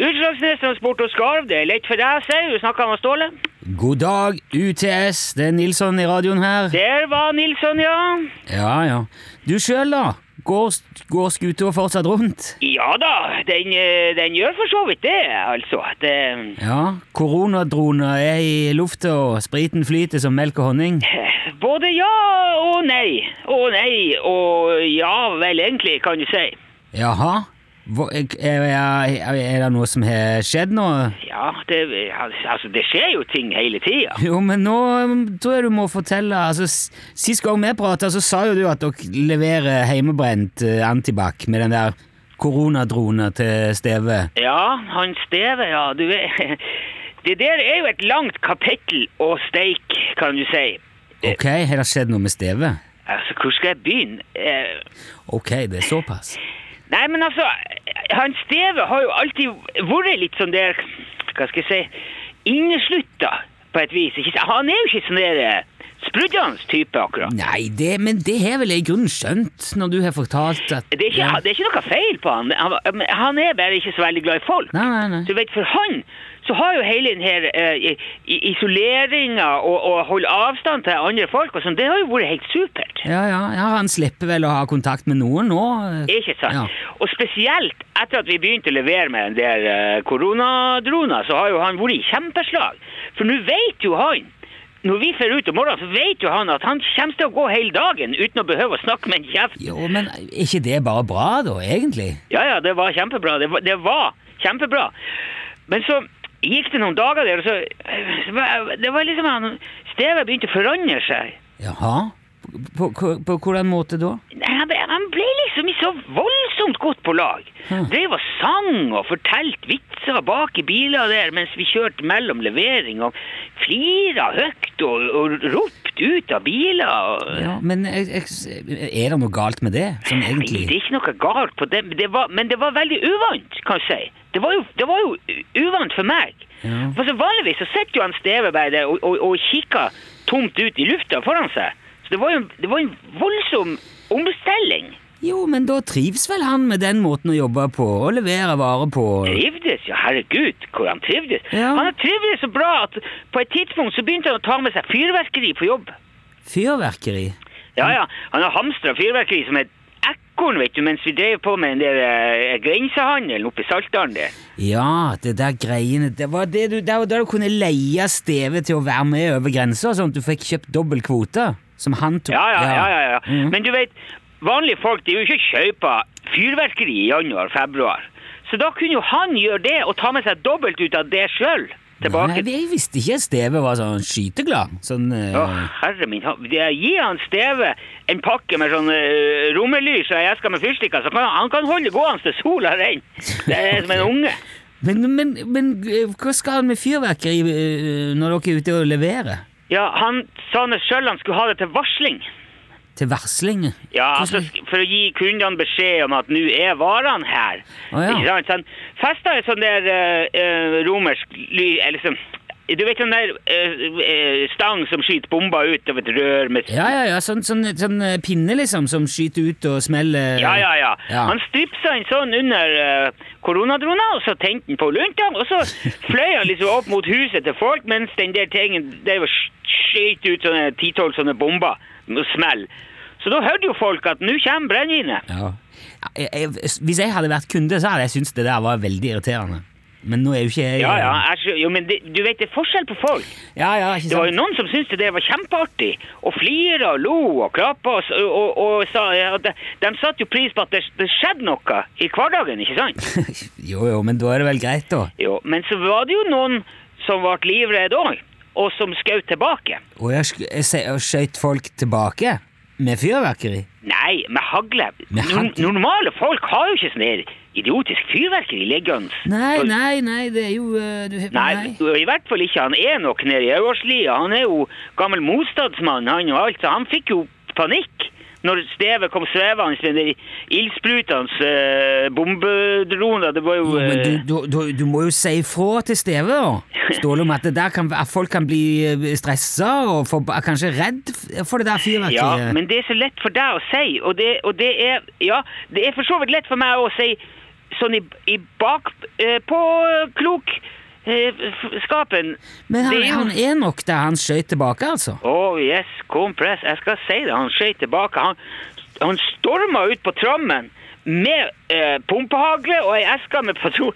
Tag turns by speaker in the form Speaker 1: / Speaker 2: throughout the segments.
Speaker 1: Utslagsnes Transport og Skarv, det er lett for deg, sier du. Snakka med Ståle.
Speaker 2: God dag, UTS. Det er Nilsson i radioen her.
Speaker 1: Der var Nilsson, ja.
Speaker 2: Ja, ja. Du sjøl, da? Går, går skuta fortsatt rundt?
Speaker 1: Ja da, den, eh, den gjør for så vidt det, altså. Det,
Speaker 2: Ja, koronadroner er i lufta, og spriten flyter som melk og honning.
Speaker 1: eh, både ja og nei. Og nei og ja vel, egentlig, kan du si.
Speaker 2: Jaha? Hva- Er, er, er det noe som har skjedd nå?
Speaker 1: Ja, det, altså, det skjer jo ting hele tida.
Speaker 2: Jo, men nå um, tror jeg du må fortelle altså, s- Sist gang vi prata, så sa jo du at dere leverer hjemmebrent eh, antibac med den der koronadrona til Steve.
Speaker 1: Ja, han Steve, ja. Du vet Det der er jo et langt kapittel å steike, kan du si.
Speaker 2: Ok, har det skjedd noe med Steve?
Speaker 1: Altså, hvor skal jeg begynne? Eh,
Speaker 2: Ok, det er såpass.
Speaker 1: Nei, men altså, han Steve har jo alltid vært litt sånn der, hva skal jeg si, inneslutta på et vis. Ikke, s- han er jo ikke sånn der eh, sprudlende type, akkurat.
Speaker 2: Nei, det, men det har vel jeg i grunnen skjønt når du har fortalt at
Speaker 1: Det er, ikke, det er ikke noe feil på han. Han, men han er bare ikke så veldig glad i folk.
Speaker 2: Nei, nei,
Speaker 1: Så
Speaker 2: nei.
Speaker 1: du vet, For han så har jo hele den her eh, i- isoleringa og, og holde avstand til andre folk, og sånn, det har jo vært helt supert.
Speaker 2: Ja, ja, ja, han slipper vel å ha kontakt med noen nå?
Speaker 1: Ikke sant?
Speaker 2: Ja.
Speaker 1: Og spesielt etter at vi begynte å levere med den der eh, koronadrona, så har jo han vært i kjempeslag. For nå vet jo han, når vi fer ut om morgenen, så vet jo han at han kommer til å gå hele dagen uten å behøve å snakke med en kjeft.
Speaker 2: Jo, men er ikke det bare bra, da, egentlig?
Speaker 1: Ja, ja, det var kjempebra. Det var, det var kjempebra. Men så gikk det noen dager der, og så, eh, så var- Det var liksom han Steve begynte å forandre seg.
Speaker 2: Jaha? På, på, på hvordan måte da?
Speaker 1: Nei, han ble- han ble liksom i så voldsomt godt på lag.
Speaker 2: Hm.
Speaker 1: Drev og sang og fortalte vitser bak i biler der mens vi kjørte mellom levering, og flira høyt og, og ropte ut av biler. Og...
Speaker 2: Ja, men jeg, jeg, er det noe galt med det, sånn
Speaker 1: Nei, det
Speaker 2: egentlig?
Speaker 1: er ikke noe galt på det, men det var, men det var veldig uvant, kan jeg si. Det var jo, det var jo u- uvant for meg.
Speaker 2: Ja.
Speaker 1: For så vanligvis så sitter jo han Steve bare der og, og, og kikker tomt ut i lufta foran seg. Så det var jo en, det var en voldsom omstelling.
Speaker 2: Jo, men da trives vel han med den måten å jobbe på, og levere varer på?
Speaker 1: Trivdes, ja herregud, hvor han trivdes.
Speaker 2: Ja.
Speaker 1: Han har trivdes så bra at på et tidspunkt så begynte han å ta med seg fyrverkeri på jobb.
Speaker 2: Fyrverkeri?
Speaker 1: Ja, ja, han har hamstra fyrverkeri som et ekorn, vet du, mens vi drev på med den der eh, grensehandelen oppe i Saltdalen der.
Speaker 2: Ja, det der greiene Det var det du, det var da du kunne leie Steve til å være med over grensa, sånn at du fikk kjøpt dobbel kvote? Som han tok?
Speaker 1: Ja, Mm. ja, ja, ja, ja.
Speaker 2: Mhm.
Speaker 1: Men du vet, vanlige folk de er jo ikke å kjøpe fyrverkeri i januar-februar. Så da kunne jo han gjøre det og ta med seg dobbelt ut av det sjøl tilbake.
Speaker 2: Nei, jeg visste ikke Steve var sånn skyteglad. Sånn eh,
Speaker 1: Å, herre min hav. Det- Gi han Steve en pakke med sånn uh, rommelys og ei eske med fyrstikker, så kan han, han kan holde gående til sola renner. Det er som en unge.
Speaker 2: men, men, men eh, hva skal han med fyrverkeri eh, når dere er ute og leverer?
Speaker 1: Ja, han sa nå sjøl han skulle ha det til varsling.
Speaker 2: Til varsling?
Speaker 1: Ja,
Speaker 2: Hvordan-
Speaker 1: altså sk- For å gi kundene beskjed om at nå er varene her.
Speaker 2: Å, ja.
Speaker 1: Ikke sant? Så han festa en sånn der eh, eh, romersk ly... Eller sånn Du vet den der eh, eh, stang som skyter bomber ut av et rør med
Speaker 2: Ja, ja, ja, sånn, sånn, sånn eh, pinne liksom, som skyter ut og smeller
Speaker 1: Ja, ja, ja.
Speaker 2: Ja.
Speaker 1: Han stripsa en sånn under uh, koronadrona, og så tente han på lunta, og så fløy han liksom opp mot huset til folk, mens den der tingen der var sk- skjøt ut sånne ti-tolv sånne bomber med smell. Så da hørte jo folk at nå kommer brennevinet.
Speaker 2: Ja. Jeg, jeg, hvis jeg hadde vært kunde, så hadde jeg syntes det der var veldig irriterende. Men nå er jo ikke jeg
Speaker 1: Ja, ja, jeg, skjø- jo, men det, du vet, det er forskjell på folk.
Speaker 2: ja, ja, ikke
Speaker 1: Det var jo
Speaker 2: sant?
Speaker 1: noen som syntes det der var kjempeartig, og flira og lo og klappa og, s- og, og, og sa at de, de satte jo pris på at det, det skjedde noe i hverdagen, ikke sant?
Speaker 2: jo, jo, men da er det vel greit, da.
Speaker 1: Jo, men så var det jo noen som ble livredde òg, og som skjøt tilbake.
Speaker 2: Og jeg, sk- jeg, se- jeg skjøt folk tilbake med fyrverkeri.
Speaker 1: Nei, med hagle.
Speaker 2: Med
Speaker 1: Nor-
Speaker 2: hagle?
Speaker 1: Normale folk har jo ikke sånn her idiotisk fyrverkeri liggende.
Speaker 2: Nei,
Speaker 1: Og-
Speaker 2: nei, nei, det er jo eh, du,
Speaker 1: Nei, og i hvert fall ikke. Han er nok nede i Aurslia. Han er jo gammel motstandsmann, han og alt, så han fikk jo panikk når Steve kom svevende med de ildsprutende eh, bombedroner. Det var jo
Speaker 2: Jo, men
Speaker 1: eh,
Speaker 2: du, du, du, du må jo si ifra til Steve, da. Ståle, om at, det der kan, at folk kan bli stressa og for, er kanskje redd for det der fyrverkeriet.
Speaker 1: Ja, men det er så lett for deg å si, og det, og det er Ja, det er for så vidt lett for meg å si sånn i, i bak eh, på eh, klok eh, f- skapen.
Speaker 2: Men han,
Speaker 1: Det er jo-
Speaker 2: han er nok der han skøyt tilbake, altså.
Speaker 1: Oh yes, kompress. Jeg skal si det. Han skjøt tilbake. Han, han storma ut på trammen med eh, pumpehagle og ei eske med patron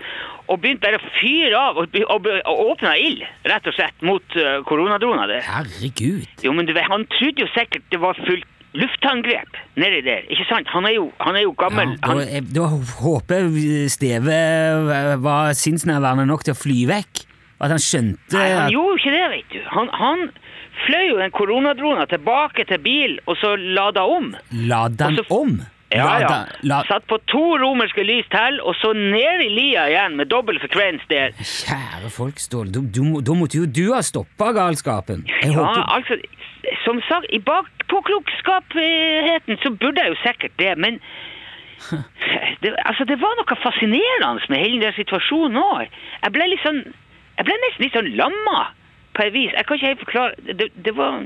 Speaker 1: og begynte bare å fyre av og, be- og, be- og åpna ild, rett og slett, mot eh, koronadrona der.
Speaker 2: Herregud.
Speaker 1: Jo, men du vet, han trodde jo sikkert det var fullt luftangrep nedi der, ikke sant? Han er jo, han er jo gammel.
Speaker 2: Ja, da,
Speaker 1: han,
Speaker 2: er- da håper jeg Steve eh, var sinnsnærværende nok til å fly vekk. og At han skjønte
Speaker 1: Nei, han
Speaker 2: at
Speaker 1: gjorde jo ikke det, vet du. Han, han fløy jo den koronadrona tilbake til bil, og så lada om.
Speaker 2: Lade han
Speaker 1: Og så-
Speaker 2: om?
Speaker 1: Ja, ja.
Speaker 2: Lada- la-
Speaker 1: Satt på to romerske lys til, og så ned i lia igjen med dobbel frekvens der.
Speaker 2: Kjære folk, Ståle. du- du må- Da måtte jo du ha stoppa galskapen. Jeg
Speaker 1: Ja,
Speaker 2: håper
Speaker 1: altså, som sagt, i bakpåklokskapheten så burde jeg jo sikkert det, men det, altså, det var noe fascinerende med hele den situasjonen òg. Jeg ble litt sånn Jeg ble nesten litt sånn lamma, på et vis. Jeg kan ikke helt forklare Det, det var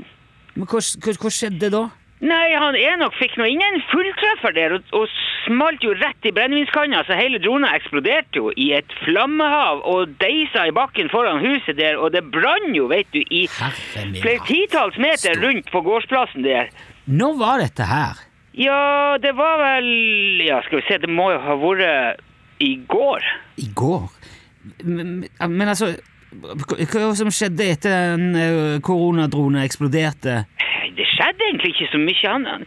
Speaker 2: Men hva, hva, hva skjedde da?
Speaker 1: Nei, han Enok fikk nå ingen fulltreffer der, og, og smalt jo rett i brennevinskanna, så hele drona eksploderte jo i et flammehav og deisa i bakken foran huset der, og det brann jo, vet du, i
Speaker 2: Herre min
Speaker 1: flere
Speaker 2: hatt.
Speaker 1: titalls meter rundt på gårdsplassen der.
Speaker 2: Når var dette her?
Speaker 1: Ja, det var vel Ja, skal vi se, det må jo ha vært i går.
Speaker 2: I går? Men, men altså Hva hva var det som skjedde etter den eh, koronadronen eksploderte?
Speaker 1: Det skjedde egentlig ikke så mye. Han, han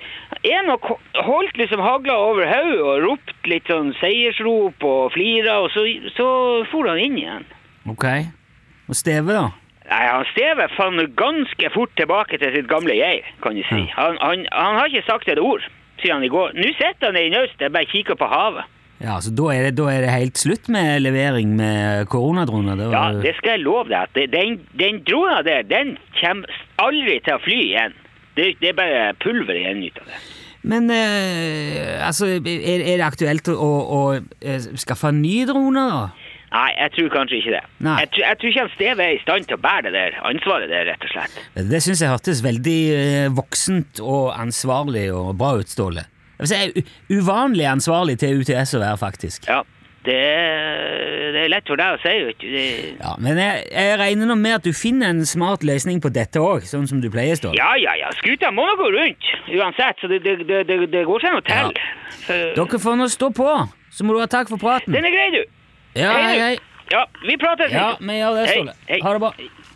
Speaker 1: Enok holdt liksom hagla over hodet og ropte litt sånn seiersrop og flira, og så, så for han inn igjen.
Speaker 2: Ok. Og Steve, da?
Speaker 1: Nei, han Steve fant ganske fort tilbake til sitt gamle jeg, kan du si. Han, han, han har ikke sagt et ord siden i går. Nå sitter han i naust og bare kikker på havet.
Speaker 2: Ja, så da er, det, da er det helt slutt med levering med koronadroner? Det
Speaker 1: Ja,
Speaker 2: var-
Speaker 1: det skal jeg love deg. at det- Den, den drona der, den kommer aldri til å fly igjen. Det, det er bare pulver igjen ut av det.
Speaker 2: Men eh, altså, er, er det aktuelt å, å, eh, skaffe en ny drone, da?
Speaker 1: Nei, jeg tror kanskje ikke det.
Speaker 2: Nei.
Speaker 1: Jeg, tror- jeg tror ikke han Steve er i stand til å bære det der ansvaret der, rett og slett.
Speaker 2: Det syns jeg hørtes veldig eh, voksent og ansvarlig og bra ut, Ståle. Jeg vil si, u- uvanlig ansvarlig til UTS å være, faktisk.
Speaker 1: Ja, det, er- det er lett for deg å si, vet du. Det,
Speaker 2: Ja, Men jeg, jeg regner nå med at du finner en smart løsning på dette òg, sånn som du pleier, Ståle.
Speaker 1: ja, ja, ja. Skuta må nå gå rundt uansett, så det, det, det, det, det går seg noe til. Så-
Speaker 2: Dere får nå stå på, så må du ha takk for praten.
Speaker 1: Den er grei, du.
Speaker 2: Ja, hei, hei.
Speaker 1: Ja, vi prates.
Speaker 2: Ja,
Speaker 1: Nico.
Speaker 2: vi gjør det,
Speaker 1: Hei,
Speaker 2: Ståle.
Speaker 1: hei.
Speaker 2: Ha det bra.